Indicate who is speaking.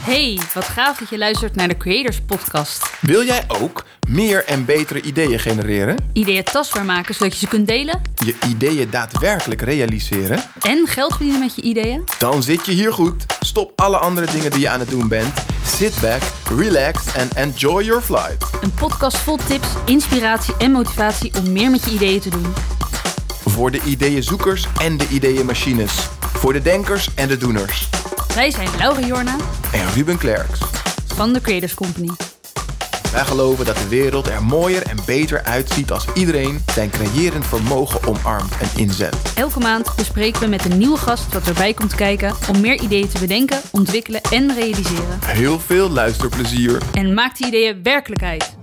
Speaker 1: Hey, wat gaaf dat je luistert naar de Creators Podcast.
Speaker 2: Wil jij ook meer en betere ideeën genereren?
Speaker 1: Ideeën tastbaar maken zodat je ze kunt delen
Speaker 2: Je ideeën daadwerkelijk realiseren?
Speaker 1: en geld verdienen met je ideeën.
Speaker 2: Dan zit je hier goed. Stop alle andere dingen die je aan het doen bent. Sit back, relax en enjoy your flight.
Speaker 1: Een podcast vol tips, inspiratie en motivatie om meer met je ideeën te doen.
Speaker 2: Voor de ideeënzoekers en de ideeënmachines. Voor de denkers en de doeners.
Speaker 1: Wij zijn Laura Jorna
Speaker 2: En Ruben Klerks.
Speaker 1: van de Creators Company.
Speaker 2: Wij geloven dat de wereld er mooier en beter uitziet als iedereen zijn creërend vermogen omarmt en inzet.
Speaker 1: Elke maand bespreken we met een nieuwe gast wat erbij komt kijken om meer ideeën te bedenken, ontwikkelen en realiseren.
Speaker 2: Heel veel luisterplezier.
Speaker 1: En maak die ideeën werkelijkheid.